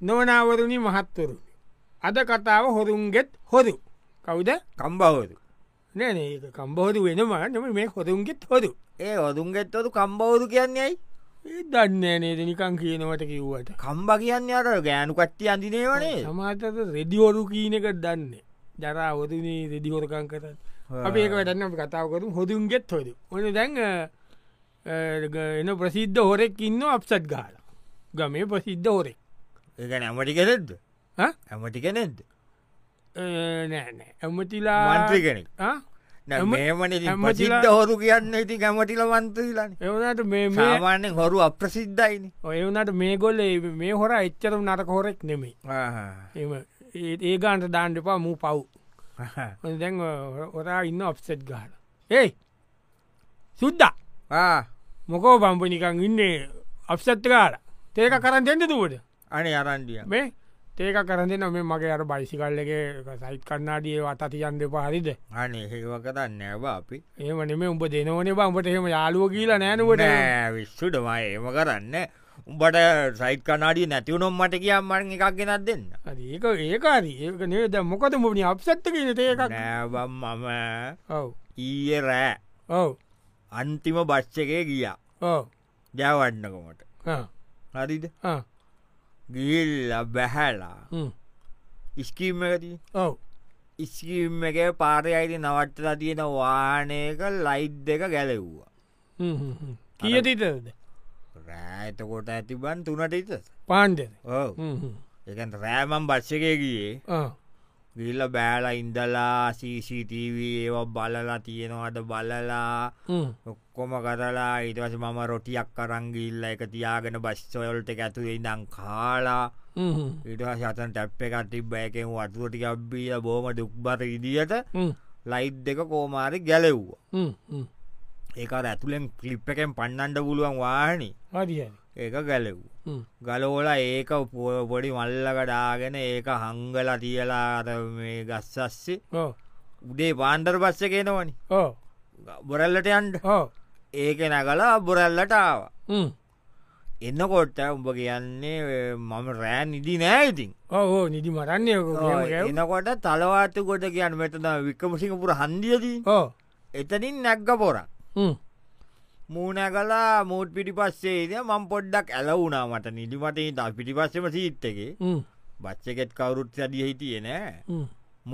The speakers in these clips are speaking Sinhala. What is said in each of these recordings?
නොවනාවරුණි මහත්තුරු. අද කතාව හොරුන්ගෙත් හොරු කවුද කම්බවරු නෑන කම්බෝධ වෙනවා නම මේ හොරුන්ගෙත් හොරු ඒ ඔදුන්ගෙත්තතු කම්බවරු කියන්නේයි ඒ දන්නේ නේද නිකං කියනවට කිව්වට කම්බ කියන්න අර ගෑනු කට්ටි අඳිනේවනේ සමාතත රෙඩිහොරු කීනක දන්නේ ජරා හොරුණී රෙදිහොරකං කරන්න අපේ වැඩන්න අප කතාවකරු හොරුන්ගෙත් හොරු ඕන දැන් අ, අ, ග- එන ප්‍රසිද්ධ හොරෙක් ඉන්න අප්සට් ගාල ගමේ ප්‍රසිද්ධ හොරෙක් ඒක ඇමටි කෙනෙක්ද හ? ඇමටි කෙනෙක්ද නෑනෑ ඇමතිලා මන්ත්‍රී කෙනෙක් ආ? නෑ, ඇම- මේමනේ ඉතින් ඇමතිලා- ප්‍රසිද්ධ හොරු කියන්න ඉති ඇමටිල මන්තුලාන එවනට මේ මේ- සාමාන්‍යෙන් හොරු අප්‍රසිද්ධයින ඔයවනට මේගොල්ල ඒ- මේ හොර එච්චර නරක හොරෙක් නෙමේ එම ඒ- ඒ ගාන්ට දාන්න එපා මූ පව් ඔන්න දැන් ඔ- ඔරා ඉන්න ඔප්සෙට් ගාන ඒයි සුද්ද මොකෝ බම්ප නිකං ඉන්නේ අප්සට් ගාල තේක කරන්න දෙන්න දුවට අනේ අරන්ඩිය මේ තේක කරන්න දෙන්න මේ මගේ අර බයිසිකල්ලගේ සයිත් කන්නාඩිය අතතියන්ද පහරිද අනේ හෙව කරන්න ඇව අපි ඒම නෙම උඹ දෙනවනේ බම්පට එහෙම යාලුව කියලා නෑනුවට විස්සුටමයි ඒම කරන්න උඹට සයිට් කනාඩිය නැතිවුණොම් මට කියම් මරන් එකක් ගෙනත් දෙන්න ඒක ඒකාරී ඒක නේද මොකද මුණි අප්සට්ට කියන තේකක් නෑබම් මම ඔව ඊය රෑ ඔව අන්තිම බච්චකේ ගියා ඕ ජයවන්නකමට හරිද ගිල්ල බැහැලා ඉස්කීම් එකති ඔව ඉස්කීම් එක පාරය අයිති නවට්ටලා තියෙන වානයක ලයිට් දෙක ගැලෙව්වා කියතිතද රෑතකොට ඇතිබන් තුනට ඉත පාන්්ඩද ඕ එකන් රෑමම් බච්චකේ ගියේ ගිල්ල බෑලා ඉන්දලා CCTV ඒවා බලලා තියෙනවාට බලලා ඔක්කොම කරලා ඉටවස මම රොටියක් කරංගිල්ල එක තියාගෙන බස්සොයොල්ට ඇතුවේ ඉඳං කාලා ඉටවා සතන් ටැප් එකක් තිබ්බ එකෙන් වතුරටි අබ්බීල බෝම දුක්බර ඉදිට ලයිට් දෙක කෝමාරි ගැලෙව්වා ඒක අර ඇතුළෙන් කලිප් එකෙන් පන්නන්ඩ පුළුවන් වාහනි හරිහරි ඒක ගැලෙව් ගලෝල ඒක පො- පොඩි මල්ලකඩාගෙන ඒක හංගල තියලා අර මේ ගස්සස්සේ ඕ උඩේ පාන්ඩර් පස්ස කෙනවනි ඕ බොරල්ලට යන්ඩ ඕ ඒක නැගලා බොරල්ලටාව එන්නකොට උඹ කියන්නේ "ඔය මම රෑ නිදි නෑඉතින් ඕ නිදි මරන්නේ එනකොට තලවාතු කොට කියන්න මෙතන වික්කමසිංපුර හන්දිියදී ඕ එතනින් නැක්ග පොර මූනැගලා මූට් පිටි පස්සේද මං පොඩ්ඩක් ඇලවුනා මට නිදිමට තා පිටිපස්සම සීත්තගේ බච්චකෙත් කවුරුත් සැඩිය හිටිය නෑ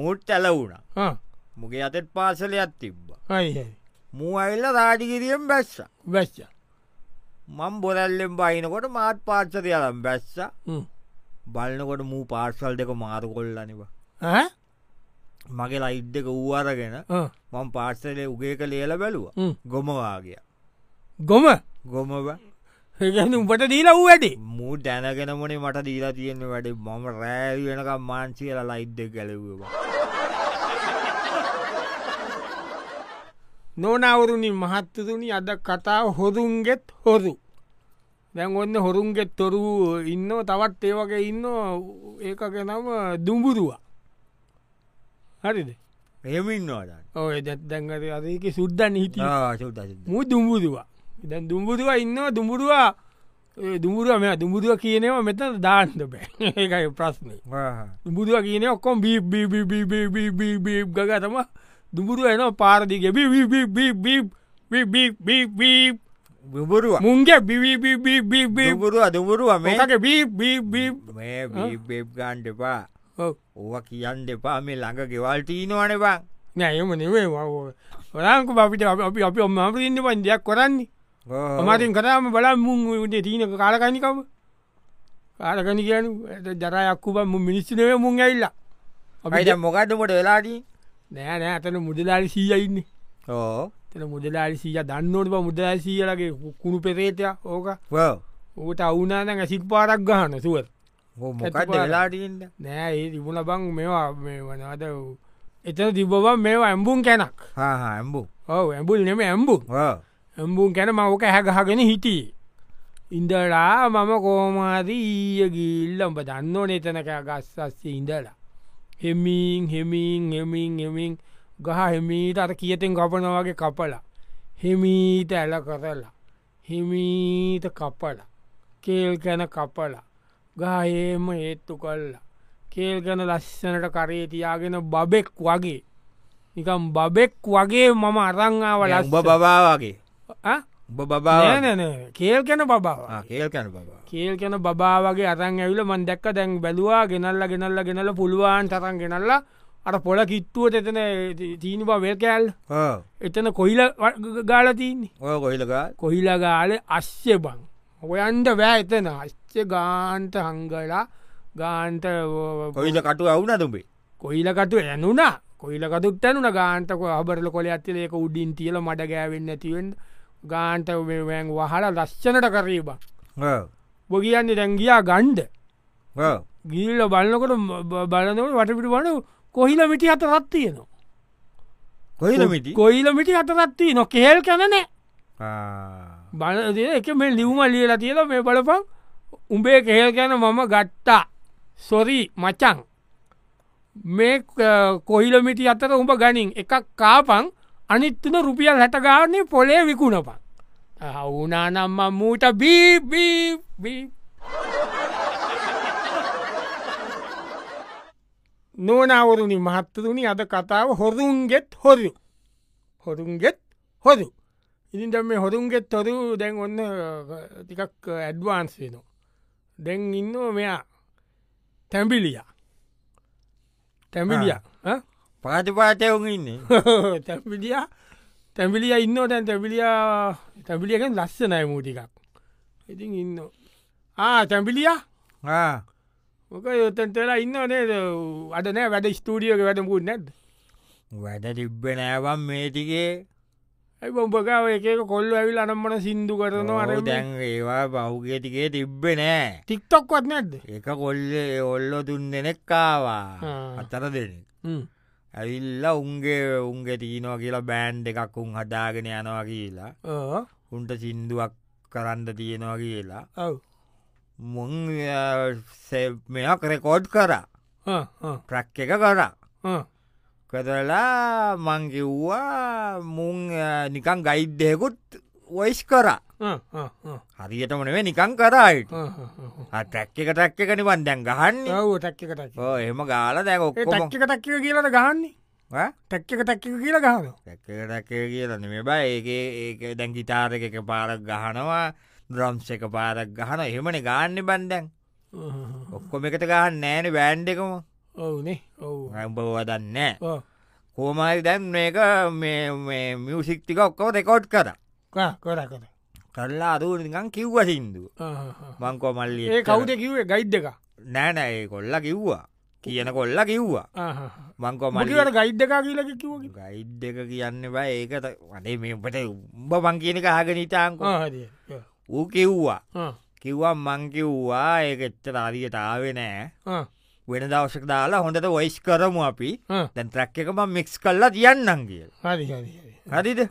මූට් ඇලවුණ මුගේ අතෙත් පාසලයක් තිබ්බ හරි මූ අල්ල රාඩිකිරියෙන් බැස්ස බස්්ච මං බොරැල්ලෙන් බයිනකොට මාත් පාර්සරයලම් බැස්ස බලන්නකොට මූ පාර්සල් දෙක මාරු කොල්ලනිවා මගේ ලයිට් දෙක වූ අරගෙන මං පාර්සලේ උගේක ලියල බැලුව ගොමවාගේ ගොම ගොමව ඒගැන උඹට දීලා වූ වැඩේ මූ දැනගෙනමනේ මට දීලා තියෙන වැඩේ මම රෑවි වෙනකම් මාන්සිියල ලයිට් දෙ ගැලවවා නොනවරුණි මහත්තතුනි අද කතාව හොරුන්ගෙත් හොරු දැන් ඔන්න හොරුන්ගෙත් තොරු ඉන්න තවත් ඒ වගේ ඉන්න ඒක නම දුඹුරුවා හරිද එහෙමින්වාදන්න ඔය දැත්තැන්ගර අදක සුද්දන් හිටිය සුද මු දුඹුරුවා දැන් දුම්බුරුවා ඉන්නවා දුඹුරුවා දුමුරුව මෙ දුඹුරුව කියනවා මෙතන දාන්න බෑ ඒකයි ප්‍රශ්නය දුඹුරුව කියන ඔක්කොම් බීබීබීබීබීබීබීබීබ ගතම දුඹුරුව එන පාරදිගේ බීබීබීබීබීබීබීබීබීබීබ විබුරුව මුන්ගේ බිවිබීබීබීබීබීබීබීබ විබුරුව අදබුරුව මේ මේ බීබේබ් ගාන්් දෙපා ඕ කියන් දෙපා මේ ළඟ ගෙවල්ටීනවන බං නෑයම නෙවේ රංකු අපිට අප- අපි අපි ඔම්මට ඉන්න පන්දයක් කොරන්නේ අමාතින් කරාම බලා මුන් උදේ තිීනක කාලකනිකම කාලකනි කියනු ජරයක්කුබ මු මිනිස්සනව මුන් ඇල්ලා අපයිට අපිට මොකක්දමට වෙලාදී නෑ නෑ අතන මුදලාලි සීය ඉන්න ඕ තන මුදලාලි සීය දන්නෝට මුදලා සීයලගේ කුණු පෙරේතය ඕක ඕට අවුනාන ඇසිල් පාරක් ගහන සුවත් මොකක්ද ඇතිපාර. වෙලාටීන්ද නෑ ඒ තිබුණ බං මේවා මේ වනාද එතන තිබබන් මේවා ඇම්බුම් කැනක් හාහාම්බු ඔව ඇඹුල් නෙම ඇම්බුම් ඇම්බුම් ගැන මවක හැගහගෙන හිටියේ. ඉඳලා මම කෝමාදී ඊය ගිල්ලඹ දන්නෝ නතනක ගස්සස්සේ ඉඳලා. හෙමින් හෙමින් හෙමින් හෙමින් ගහ හෙමීට අර කියතෙන් කපන වගේ කපලා. හෙමීට ඇල කරලා. හිමීට කපලා. කේල් කැන කපලා. ගායේම ඒත්තු කල්ලා කේල් ගැන ලස්සනට කරේ තියාගෙන බබෙක් වගේ නිකම් බබෙක් වගේ මම අරංආාවල උඹ බබා වගේ උඹ බබා නෑනන කේල් කැන බබාව කේල් කන බබා කේල් කැන බබා වගේ අරන් ඇවිල මන් දැක්ක දැන් බැලවා ගෙනල්ල ගෙනල්ල ගෙනල පුළුවන් තරන් ගෙනල්ල අර පොල කිට්ටුවට එතන තීන බවල් කෑල් ආ. එතන කොහිල ගාලතින්නේ ඔය කොහිලකා කොහිලගාල අස්්‍ය බං ඔයන්ට වැෑ එතන අස්්‍ය ගාන්ට හංගලා ගාන්ට කොයිල කටු අවුන තුබේ කොයිලකතු ඇනුනා කොයිලකතුත් ඇනුන ගාන්තක අබරල කොල ඇතිලේක උඩින් තියල මඩ ගෑවෙන්න ඇතිවෙන් ගාන්ට වැෑන් වහලා ලස්්චනට කරීබ බොගියන්න දැංගියා ගණ්ඩ ගිල්ල බලන්නකොට බ- බලනකොට වටපිට වන කොහිල මිටි අත රත්තියනවා කොයිල මිටි කොයිල මිටි අතරත්තිී නො කෙල් කැනනෑ බලද එක මේ ලිවම ලියලා තියල මේ බලපං උඹේ කෙල් ගැන මම ගත්තා සොරී මචන් මේ ක- කොහිලමිටි අතර උඹ ගනින් එකක් කාපං අනිත්තුන රුපියල් හැටගාන්නේ පොලේ විකුණපන් හවුනානම්ම මූට බීබීබී නෝනවරුණි මහත්තතුනි අද කතාව හොරුන්ගෙත් හොරු හොරුන්ගෙත් හොරු ඉතින් දැන් මේ හොරුන්ගෙත් තොරු දැන් ඔන්න අ, ටිකක් ඇඩ්වාන්ස් වෙනවා දැන් ඉන්නවා මෙයා තැම්බිලිය තැම්බිලිය පාති පාතයවු ඉන්නේ තැම්පිලිය තැම්පිලිය ඉන්න දැන් තැපිලියා තැපිලියකෙන් ලස්සනයි මූටිකක් ඉතින් ඉන්න ආ තැම්පිලිය ආ. මොක යොතන්ටලා ඉන්න නේද අද නෑ වැඩ ස්ටූඩියෝක වැඩපුුත් නැද වැඩ තිබ්බ නෑවම් මේටිකේ ඇයි බම්පකාව එකක කොල්ල ඇවිල් අනම්මන සිින්දු කරනවා අර දැන් ඒවා බෞගටිකේ තිබ්බ නෑ ටික්ටොක්වත් නැද්ද එක කොල්ලේ ඔල්ලො තුන් දෙනෙක්කාවා ආ. අතර දෙනෙක් ඇවිල්ල උන්ගේ උන්ගේ තිීනවා කියලා බෑන්් එකක් උන් හදාගෙන යනවා කියලා උන්ට සින්දුවක් කරන්න තියෙනවා කියලා ඔව මුං මෙයක් රෙකෝඩ් කර ට්‍රක් එක කර කරලා මංකිව්වා මුං අ, නිකං ගයිඩ්ඩයකුත් වයිස් කර හරියටම නෙවේ නිකං කරයිට ටැක් එක ටැක් එක නිවන් දැන් ගහන්න ඔව ටැක්කටක් එහෙම ගාල දැක ඔක්කොම ටක්ක ටක්ක කියලට ගහන්නේ ඈ? ටැක්ක ටක්ක කියලා ගහන රැකරැක කියලන මේ බයි ඒ ඒ දැන් ගිතාරක එක පාරක් ගහනවා ද්‍රම්ස එක පාරක් ගහන එහෙමන ගාන්න බන්ඩැන් ඔක්කොම එකට ගහන්න නෑන බෑන්් එකම ඔවුනේ ඔව රැම්බවදන්න කෝමයි දැන් මේක මියසික්තික ඔක්කෝ රෙකෝඩ් කර කොර කර කරලා අරුනිකන් කිව්ව සින්දු මංකෝ මල්ලිය ඒ කවුද කිවේ ගයිඩ් එක නෑනෑ කොල්ල කිව්වා කියන කොල්ල කිව්වා මංකෝ මල්ලි මටිවට ගයිඩ් එකා කියලක කිව ගයිඩ් එක කියන්න බෑ ඒකත වනේ මේට උඹ මංකීනක හාගෙනීතාංකෝ ඌ කිව්වා කිව්වා මං කිව්වා ඒක එච්චර අරියට ආවේ නෑ වෙන දවසක දාලා හොඳට වයිස් කරමු අපි දැන් ත්‍රැක් එක ම මික්ස් කල්ලා තියන්නන් කිය හරි හරි හරිද හරි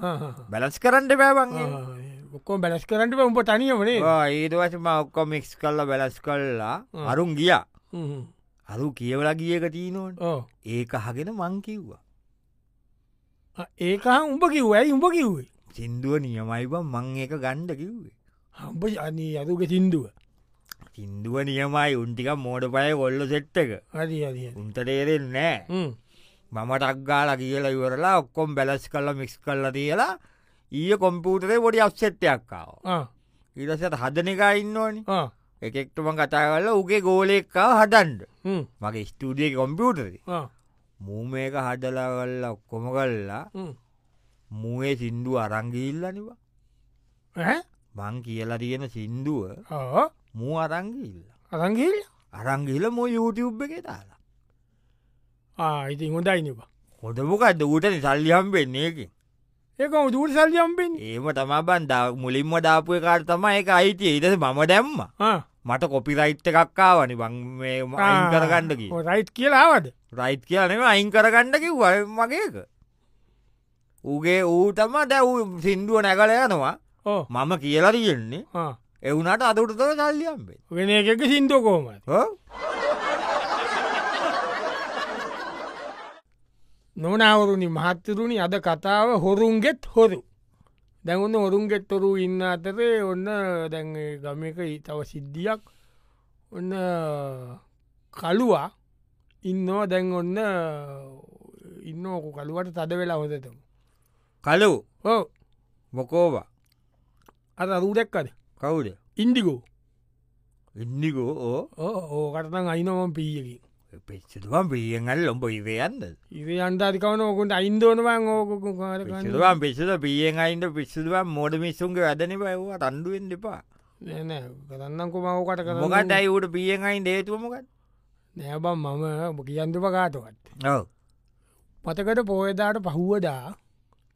බැලස් කරන්න බෑවන්ගේ ඔක්කෝ බැලස් කරන්නට උඹ තනියමනේ ඒදවශම ඔක්කො මික්ස් කල්ල බැලස් කල්ලා අරුන් ගිය අරු කියවලා ගියක තිීනොට ඕ ඒක හගෙන මං කිව්වා ඒකහ උඹ කිව් ඇයි උඹ කිව්වේ සින්දුව නියමයිබ මං ඒක ගණ්ඩ කිව්වේ හම්බ අනී අදුක සිින්දුව සින්දුව නියමයි උන්ටික මෝඩ පය ගොල්ල සෙට්ටක හරි හරි හරි. උන්ටටේරෙන් නෑ හ්ම්. මම ටක්ගාල කියලා ඉවරලා ඔක්කොම් බැලස් කල්ල මික්ස් කල්ල තියලා ඊය කොම්පියුටරේ පොඩි අප්සෙට්ටයක්කාව ආ, ඉරසට හදන එක ඉන්නඕනි ආ. එකෙක්ටම කතා කල්ල උගේ ගෝලෙක්කා හටන්ඩ හ්ම්. මගේ ස්ටඩිය කොම්පියුටරේ ආ. මූමේක හදලා කල්ල ඔක්කොම කල්ලා හ්ම්. මුවේ සින්දු අරංගිල්ලනිවා ඈ? මං කියලා තියෙන සින්දුව ආ. මූ අරංගිල්ල අරංගිල් අරංගිල මෝ යුටබ් එක තාලා ආයිති හොඳයිනවා හොදමකක්ද ඌටන සල්ලියම් වෙන්නේකින් ඒක දුර සල්ලියම්පෙන් ඒම තමා බන්දා මුලින්ම දාපුය කාර තම එක අයිතිය ඉට මම දැම්ම මට කොපිරයිට් එකක්කාවනි බං මේ අයින් කරගන්නකි රයිට් කියලාවද රයිට් කියනේ අයින් කරගන්නකි වල් මගේක ඌගේ ඌ තම දැව් සින්දුව නැකල යනවා ඕ මම කියලා තියෙන්නේ ආ. එවුනට අදුටතර සල්ලියම්බේ වෙන එකක සිින්දෝකෝමත් නොනවරුණි මහත්තරුණි අද කතාව හොරුන්ගෙත් හොරු දැවන්න හොරුන්ගෙත් තොරු ඉන්න අතරේ ඔන්න දැන් ඒ ගම එක ඊ- තව සිද්ධියක් ඔන්න කලුවා ඉන්නවා දැන් ඔන්න ඉන්න ඕකු කළුවට තද වෙලා හොදතම කලු ඕ මොකෝවා අර රූදැක්කද කවුද ඉන්දිකෝ ඉන්නිකෝ ඕ ඕ ඕකටතන් අයිනොමම් පීයකින් පිච්චතුවන් පිියගල් ලොඹ ඉවයන්ද ඉරේ අන්ධාධිකවන ඕකුන්ට අයින්දෝනවන් ඕකු කාරකන්න පිසුතුවන් පිසුද පිියෙන් අයින්ට පිස්සුතුවන් මෝඩ මිස්සුන්ගේ වැදන බැව්වා රන්ඩුවෙන් දෙපා නෑ කරන්නකු මවකට කර මොකට ඇයිවට පිියෙන් අයින් දේතුවමකත් නෑබම් මම කියන්දුප කාටවත් ඔව පතකට පෝයදාට පහුවදා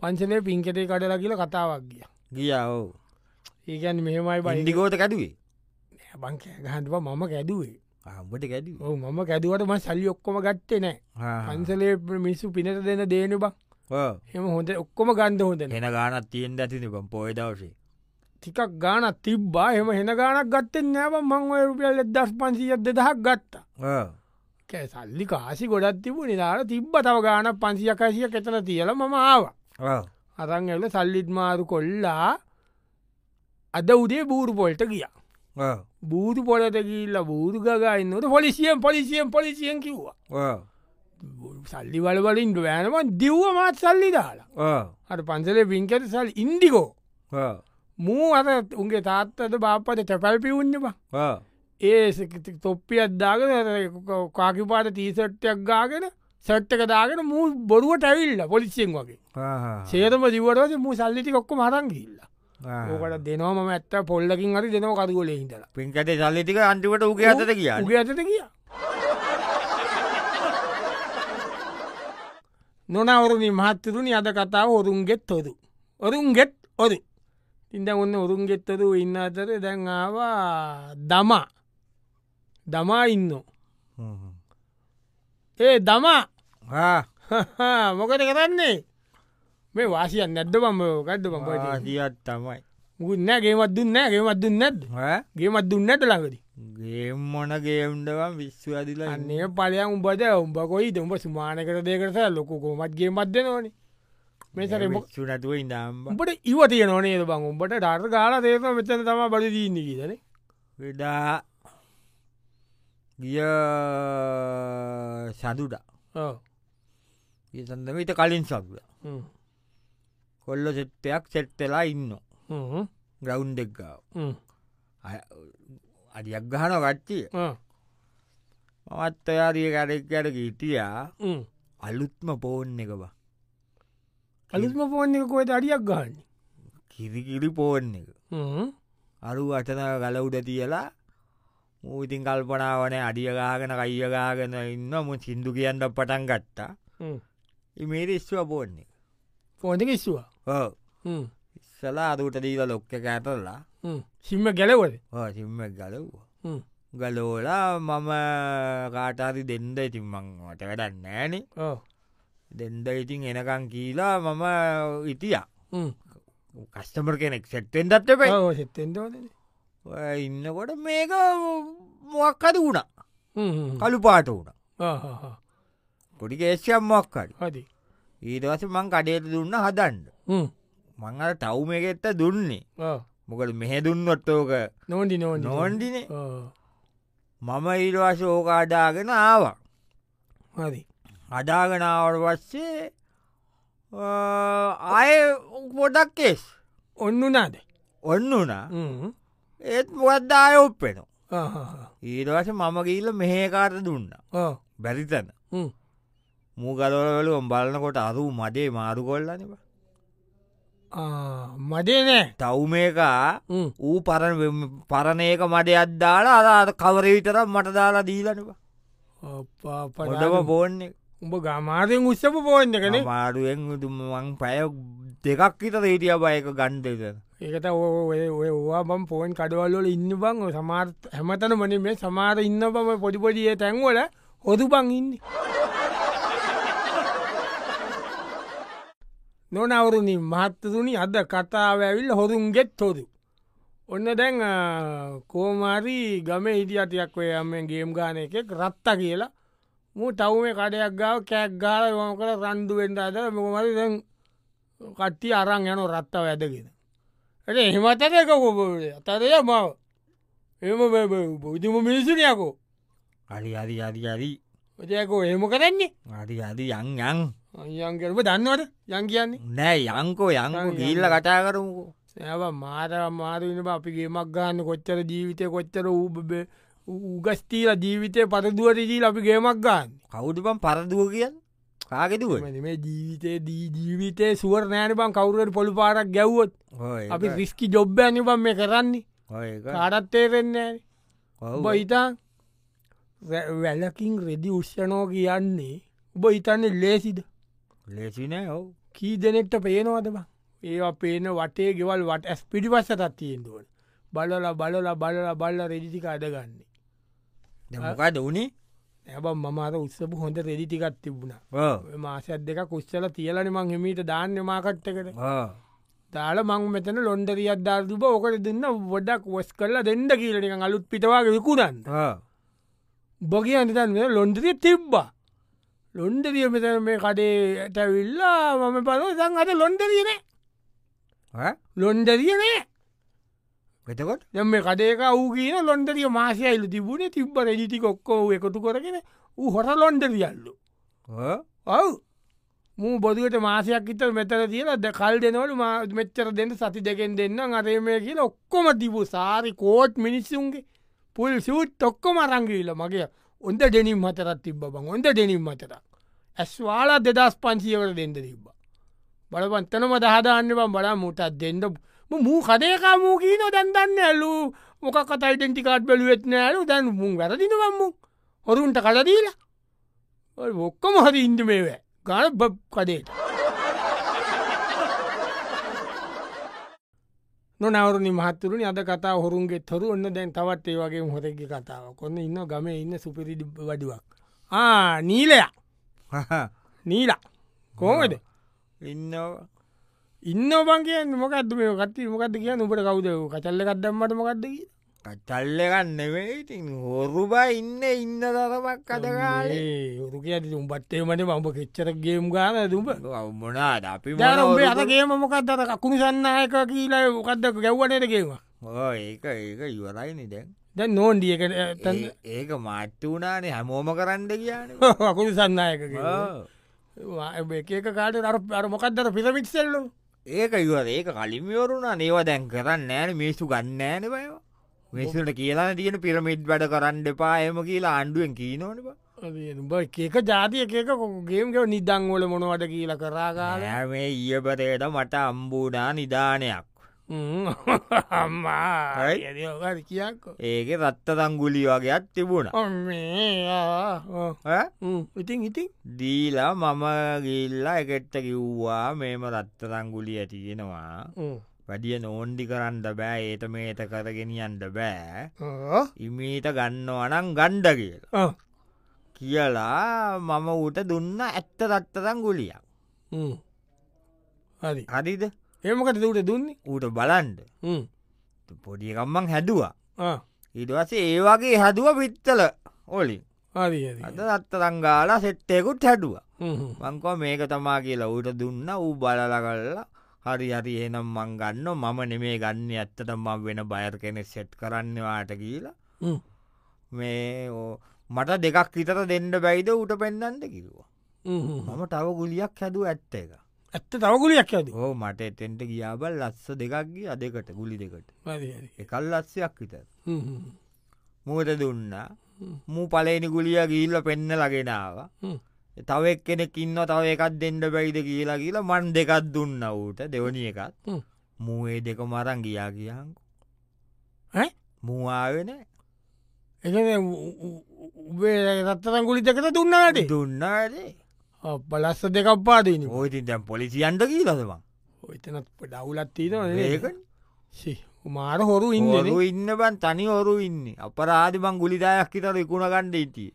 පංචලේ පින්කෙටේ කඩලා කියල කතාවක් ගිය ගියාවෝ ඒකැන් මෙහෙමයි බන්ඩික බන්ඩිකෝත කැඩුවේ බංක ගහන්තුව මම කැදුවේ අම්බට කැඩි ඔ මම කැදුවට ම සල්ලි ඔක්කොම ගත්තේ නෑ පන්සලේ මිස්සු පිනට දෙන දේන බක් එම හොඳ ඔක්කොම ගන්ධ හොඳ නෑ හෙන ගානත් තියෙන් ඇතිනකම් පොයදවශේ ටිකක් ගානක් තිබ්බා එම හෙන ගානක් ගත්තෙන් නෑම මං ඔය රුපියල් දස් පන්සිීයක් දෙදහක් ගත්තා කෑ සල්ලි කාසි ගොඩත් තිබු නිදාට තිබ්බ තව ගාන පන්සියකාසිය කෙතන තියල මම ආව අරං ඇල සල්ලිත් මාරු කොල්ලා අද උදේ බූරු පොල්ට ගිය බූරු පොලට ගිල්ල බූරු ගගන්නට පොලිසියෙන් පොලිසියෙන් පොලිසියෙන් කිව්වා සල්ලි වලවලින් ෑනම දිව්ව මාත් සල්ලි දාලා අට පන්සලේ පින්කට සල් ඉන්ඩිකෝ මූ අත උන්ගේ තාත්තද බාප්පට තැපැල්පි උන්නවා ඒ තොප්පි අද්දාගෙන කාකිපාට තීසට්ටයක් ගාගෙන සට්ටක දාගෙන මූ බොරුවට ඇවිල්ල පොලිසියෙන් වගේ සේතම දිවට මූ සල්ලිටි ඔක්කො මරන් ගිල්ල ඕකට දෙනවා මම ඇත්ත පොල්ලකින් හරි දෙනව කදගොල හිටලා පින්කටේ සල්ලිතික අන්ටිකට උගේ අතට කිය උගේ ඇතට කිය නොනවරුණි මහත්තරුණි අද කතාව ඔරුන්ගෙත් හොරු ඔරුන්ගෙත් ඔරු ඉන්ද ඔන්න ඔරුන්ගෙත්තරු ඉන්න අතර දැන් ආවා දමා දමා ඉන්න ඒ දමා මොකට කරන්නේ මේ වාසියන් නැද්ද බම ගඩ්ඩ බම දියත් තමයි ගන්න ගේමත් දුන්න ගේමත් දුන්න නැද ගේමත් දුන්න නැට ලඟද ගේම් මොන ගේම්ඩවන් විශ්ව අදිලා ඉන්න අන්නේ පලයන් උඹද උඹ කොයි උඹ සුමානකර දෙකරස ලොකු කොමත් ගේමත් දෙනවනේ මෙසර වික්ෂු නැතුව ඉඳම් උඹට ඉව තිය නොනේ බං උඹට ඩර් ගාල දේක මෙතන තම බල දීන්න කියදන වෙඩා ගිය සඳුඩ ඒ සඳමීට කලින් සක්ද කොල්ල සෙට්ටයක් සෙට්ටලා ඉන්න ග්‍රවුන්් එක්ගාව Ah, අඩියක් ගහන ගච්චිය මමත් ඔයාරිය කරෙක් අර ගීටියා අලුත්ම පෝන් එක බා අලිස්ම පෝන් එක කොයට අඩියක් ගන්න කිරිකිරි පෝන් එක අරු අටන ගල උඩ තියලා මූතින් කල්පනාවන අඩියගාගෙන කයියගාගෙන ඉන්න මු සිින්දු කියන්න පටන් ගත්තා ඉමේ ඉස්ව පෝන් එක පෝන්ට කිස්වා ඕ ඉස්සලා අරුට දීල ලොක්ක කෑතරලා සිම්ම ගැලවද සිම්ම ගලව්වා ගලෝලා මම කාටාරි දෙන්ද ඉතින්මං මට වැඩන්න ෑනෙ දෙන්ද ඉතින් එනකං කීලා මම ඉතිය කස්ටමර් කෙනෙක් සෙට්ටෙන්ටත් පැ සෙත්තෙන්ටෝද ඉන්නකොට මේක මොක්කද වුණා කළු පාට වුණ කොඩි කේෂයම් මොක්කට හද ඊටවස මං කඩේට දුන්න හදන්ඩ මං අර ටව් මේ එකෙත්ත දුන්නේ මොකට මෙහෙ දුන්නොත්තෝක නොන්ඩි නෝ නොන්ඩිනේ මම ඊටවාස ඕක අඩාගෙන ආවා හරි අඩාගෙනාවට පස්සේ ආය පොඩක් කෙස් ඔන්න නාද ඔන්න වනා ඒත් මොකද්දාය ඔප්පෙන ඊටවස මම ගීල මෙහේකාර දුන්න බැරිතන මූගලවලවලුවම් බලන්නකොට අරු මඩේ මාරු කොල්ලනිව මදේ නෑ තව් මේකා හ්ම්. ඌ පරණ පරණයක මඩ අද්දාලා අදාත කවර විතරම් මට දාලා දීලනවා අප්පා, පොඩම පරාදේ. පෝන්න උඹ ගමාරයෙන් උත්සපු පෝන් එකන මාඩුවෙන් දුමන් පැයක් දෙකක් හිතර හිටිය බයක ගණ්ඩෙද ඒකට ඔය ඔය ඕවා බම් පෝන් කඩවල්ලොල ඉන්න බං ඔය සමාර් හැමතන මන මේ සමාර ඉන්න බම පොඩිපොඩිය තැන්වල හොදු බං ඉන්න නොනවරුණින් මහත්තතුනි අද කතාව ඇවිල්ල හොරුන්ගෙත් හොරු ඔන්න දැන් කෝමාරී ගම හිටියටයක් ඔය අම ගේම් ගාන එකෙක් රත්ත කියලා මූ ටව්ේ කඩයක් ගාව කෑක් ගාල ම කළ රන්ඩුවෙන්ට අද මොකමරි දැන් කට්ටි අරං යන රත්තාව ඇදගෙන ඇ එහෙමතක කොබ අතරය මව එම බෞද්ධම මිනිසුනයකෝ අරි අරි අරි අරි ඔතයකෝ ඒම කරන්නේ අරි අරි යං යං යන් කරම දන්නවට යන් කියන්නේ නෑ යංකෝ යංකෝ ගිල්ල කටා කරමුකෝ සෑව මාතර මාරුවෙන අපිගේමක් ගන්න කොච්චර ජීවිතය කොච්චර ඌබ උගස්තීල ජීවිතය පරදුවරදී අපි ගේමක් ගන්න කවුඩුපම් පරදුව කියන් කාගෙතුව මේ ජීවිතේ දී ජීවිතේ සුවර් නෑන පන් කවුරට පොළු පාරක් ගැව්වොත් අපි රිස්කි ජොබ්බ නිපම් මේ කරන්නේ කාරත්තේරෙන්න ඔබ හිතා වැලකින් රෙදි උෂ්ෂනෝ කියන්නේ උබ හිතන්නේ ලේසිද ලේසිනෑ ඔව කී දෙනෙක්ට පේනවාද බං ඒවා පේන වටේ ගෙවල් වට ඇස් පිටි පස්ස තත්තියෙන් දුවන බලල බලල බලල බල්ල රෙදිික අඩගන්නේ දෙමකද වනේ ඇබ මමාර උත්සපු හොඳ රෙදිිටිකත් තිබුණා මාසත් දෙක කුස්සල තියලන මං හෙමීට දාන්න මාකට්ටකට දාල මං මෙතන ලොන්ඩරියත් ධර්දුබ ඕකට දෙන්න වඩක් වස් කරලා දෙන්න කියලනික අලුත් පිටවාගේ විකුණන්න බොගිය අනිතන් ලොන්ඩරිය තිබ්බා ලොන්ඩරිය මෙතන මේ කඩේට විල්ලා මම පරෝ සං අත ලොන්ඩරියනේ ලොන්ඩරියනේ වෙතකොට යම මේ කඩේක වූ කියන ලොන්ඩරිය මාසයයිල්ල තිබුණේ තිබ්බ රජිටි කොක්කෝ එකතු කරගෙන ඌ හොර ලොන්ඩරියල්ලු ඔව් මූ බොදුවට මාසයක් ඉත මෙතර තියලා ද කල් දෙනවලු මෙච්චර දෙන්න සති දෙකෙන් දෙන්න අරේ මේ කියලා ඔක්කොම තිබූ සාරි කෝට් මිනිස්සුන්ගේ පුල් සූට් ඔක්කොම අරංගීල මගේ ඔොන්ද දෙනිම් මතරත් තිබ බං ඔොන්ද දෙනිම් මතරක් ඇස්වාලා දෙදස් පන්සිියවට දෙන්න තිබ්බ බලපන්තනම දහදාන්න බම් බලා මුටත් දෙන්න මූ කදේකා මූ කියීන දැන්දන්න ඇලු මොක කතයිටෙන්ටිකාට් බැලුවෙත් නෑලු දැන් මුන් වැරදිනවම්මු හොරුන්ට කලදීලා ඔොක්කම හරි ඉන්ද මේවැ ගාන බබ් කදේට නොනවරනි මහත්තුරුනි අද කතා හොරුන්ගේ තොරු ඔන්න දැන් තවත් ඒ වගේ හොරෙක්ගේ කතාව කොන්න ඉන්න ගම ඉන්න සුපිරිඩි වඩුවක් නීලයා නීලා කෝමද ඉන්න ඉන්න බන් කියන්න මොකක්ද මේ කත්ති මොකක්ද කිය උපට කවුද කචල්ල කදම්මට මොකක්ද කිය කචල්ලගන්න වෙයිති හොරුබා ඉන්න ඉන්න දරමක් කදගාලේ හුරු කිය උඹත්තේ මට මඹ කෙච්චර ගේම් ගාන දුම මොනාද අපි ජරම්ේ අතගේ මොකක්ද අර කකුණු සන්නයක කියලා මොකක්ද ගැව්වනයට ගේවා ඒක ඒක ඉවරයිනි දැන් දැන් නෝන්ඩිය එකට ඒ- ඒක මාට්‍ය වුණනේ හැමෝම කරන්න කියන අකුණු සන්නයක එක කාට අර අර මොකක්දර පිරමික්සෙල්ලු ඒක ඉව ඒක කලිමිවරුණා නේවා දැන් කරන්න ෑන මිස්සු ගන්න ෑන බය මිසුට කියලා තියෙන පිරමිට් වැඩ කරන්න එපායම කියලා ආණ්ඩුවෙන් කීනෝනි උඹ එකක ජාතිය එකක ගේම්ගව නිදංවල මොනවට කියල කරාගාල මේ ඊයපතයට මට අම්බූඩා නිධානයක් අම්මා හරි. යෝගරි කියක්කෝ ඒක රත්ත තංගුලි වගේත් තිබුණ ඉතින් ඉතින් දීලා මම ගිල්ලා එකෙට්ට කිව්වා මේම රත්ත තංගුලිය තියෙනවා වැඩිය නෝන්ඩි කරන්න බෑ ඒත මේත කරගෙනියන්ට බෑ ඉමීට ගන්නවනං ගණ්ඩ කියලා කියලා මම ඌට දුන්න ඇත්ත රත්තතං ගුලියක් හරි හරිද ඒමකට දට දුන්නේ ඌට බලන්ඩ හ්ම්. පොඩියකම්මං හැදවා ආ, ඉඩවස ඒවාගේ හැදුව පිත්තල ඕලි හරි හරි. අත රත්තරංගාලා සෙට්ටයකුත් හැඩුව හ්ම්, හ්ම්. මංකෝ මේක තමා කියලා ඌට දුන්න ඌ බලල කල්ලා හරි හරි එනම් මං ගන්න මම නෙමේ ගන්න ඇත්තට මං වෙන බයර් කෙනෙ සෙට් කරන්නවාට කියලා හ්ම්. මේ ඕ- මට දෙකක් විතර දෙන්න බැයිද ඌට පෙන්න්නට කිව්වා හ්ම්, හ්ම්. මම තව ගුලියක් හැදුව ඇත්ත එක ඇත්ත තවගුලයක් ඇද ඕ මට එතෙන්ට ගියාබල් ලස්ස දෙකක්ගේ අදකට ගුලි දෙකට එකල් ලස්සයක් විතර මුවට දුන්න මූ පලේනි ගුලිය ගිල්ල පෙන්න ලගෙනාව හ්ම්. තව එක් කෙනෙක් ඉන්න තව එකත් දෙන්න බැයිද කියලා කියලා මන් දෙකත් දුන්න ඌට දෙවනි එකත් හ්ම්. මූඒ දෙක මරං ගියා කියංකු ඈ? මූආවෙන එක උබේ රත්තරන් ගුලිතකට දුන්නාට දුන්නාදේ බලස්ස දෙකක් පාදන ඕයිතින් දැම් පොලිසියන්ට කියලදවා ඔතනත් ඩවුලත්තිීද ඒක මාර හොරු ඉන්න ඉන්න ඉන්න බන් තනි ඔරු ඉන්න අපරාධ බං ගුලිදායක් හිතර ඉකුණගණ්ඩ ඉටිය